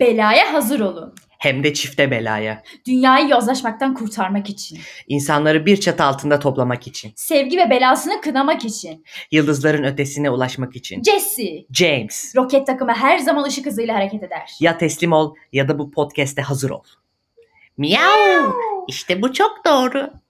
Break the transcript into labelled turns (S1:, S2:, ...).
S1: Belaya hazır olun.
S2: Hem de çifte belaya.
S1: Dünyayı yozlaşmaktan kurtarmak için.
S2: İnsanları bir çatı altında toplamak için.
S1: Sevgi ve belasını kınamak için.
S2: Yıldızların ötesine ulaşmak için.
S1: Jesse.
S2: James.
S1: Roket takımı her zaman ışık hızıyla hareket eder.
S2: Ya teslim ol ya da bu podcast'e hazır ol. Miau! İşte bu çok doğru.